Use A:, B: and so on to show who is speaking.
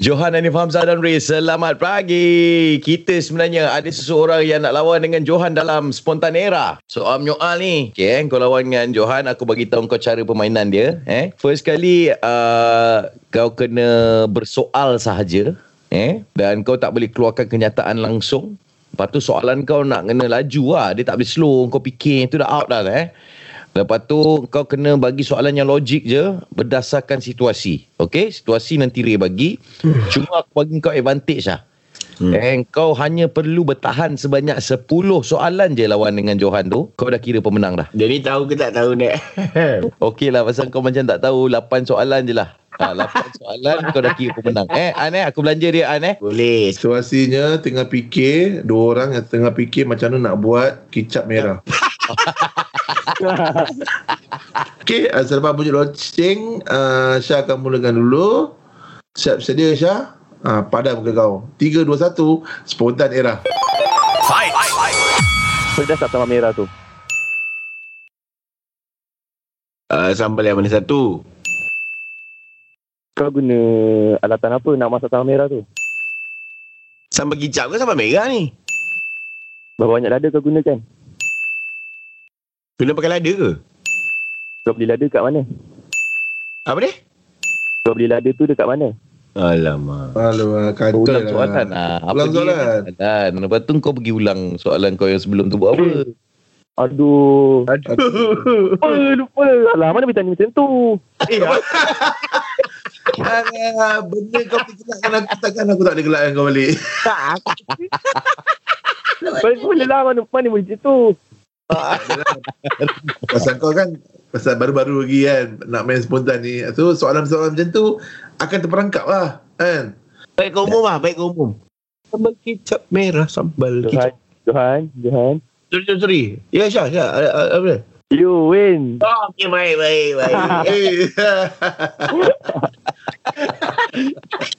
A: Johan Hanif Hamzah dan Ray, selamat pagi. Kita sebenarnya ada seseorang yang nak lawan dengan Johan dalam Spontanera. Soal menyoal ni. Okay, eh? kau lawan dengan Johan, aku bagi tahu kau cara permainan dia. Eh? First kali, uh, kau kena bersoal sahaja. Eh? Dan kau tak boleh keluarkan kenyataan langsung. Lepas tu soalan kau nak kena laju lah. Dia tak boleh slow. Kau fikir. Itu dah out dah eh. Lepas tu kau kena bagi soalan yang logik je berdasarkan situasi. Okay, situasi nanti Ray bagi. Cuma aku bagi kau advantage lah. Hmm. And kau hanya perlu bertahan sebanyak 10 soalan je lawan dengan Johan tu. Kau dah kira pemenang dah.
B: Dia ni tahu ke tak tahu dek?
A: Okey lah pasal kau macam tak tahu 8 soalan je lah. Ha, 8 soalan kau dah kira pemenang. Eh, An eh, aku belanja dia An eh.
B: Boleh.
C: Situasinya tengah fikir, dua orang yang tengah fikir macam mana nak buat kicap merah. Okey, uh, selepas bunyi loceng, uh, Syah akan mulakan dulu. Siap sedia Syah? Uh, padam ke kau. 3, 2, 1, spontan era.
D: Pedas tak sama merah tu?
B: Uh, sambal yang mana satu?
D: Kau guna alatan apa nak masak sama merah tu?
B: Sambal kicap ke sambal merah ni?
D: Berapa banyak lada kau gunakan?
B: Kena pakai lada ke?
D: Kau beli lada kat mana?
B: Apa ni?
D: Kau beli lada tu dekat mana?
B: Alamak.
C: Alamak, kacau
A: Ulang
C: lah.
A: soalan lah.
C: Ulang
A: dia?
C: soalan.
A: soalan. Lepas tu kau pergi ulang soalan kau yang sebelum tu buat apa?
D: Aduh.
C: Aduh.
D: Lupa, lupa. Alah, mana bertanya macam tu?
C: Alah, benda kau pergelakkan aku takkan aku tak boleh gelakkan kau balik.
D: Balik boleh lah, mana, mana boleh macam tu?
C: Pasal kau kan, pasal baru-baru lagi kan, nak main spontan ni. So, soalan-soalan macam tu akan terperangkap lah. Kan?
B: Baik kau umum lah, baik kau umum. Sambal kicap merah, sambal
D: Johan,
B: kicap.
D: Johan, Johan.
B: Sorry, sorry, sorry. Ya, Syah, Syah. Apa- Apa apa dia?
D: You win.
B: Oh, okay,
C: é.
B: baik, baik, baik.
C: Eh.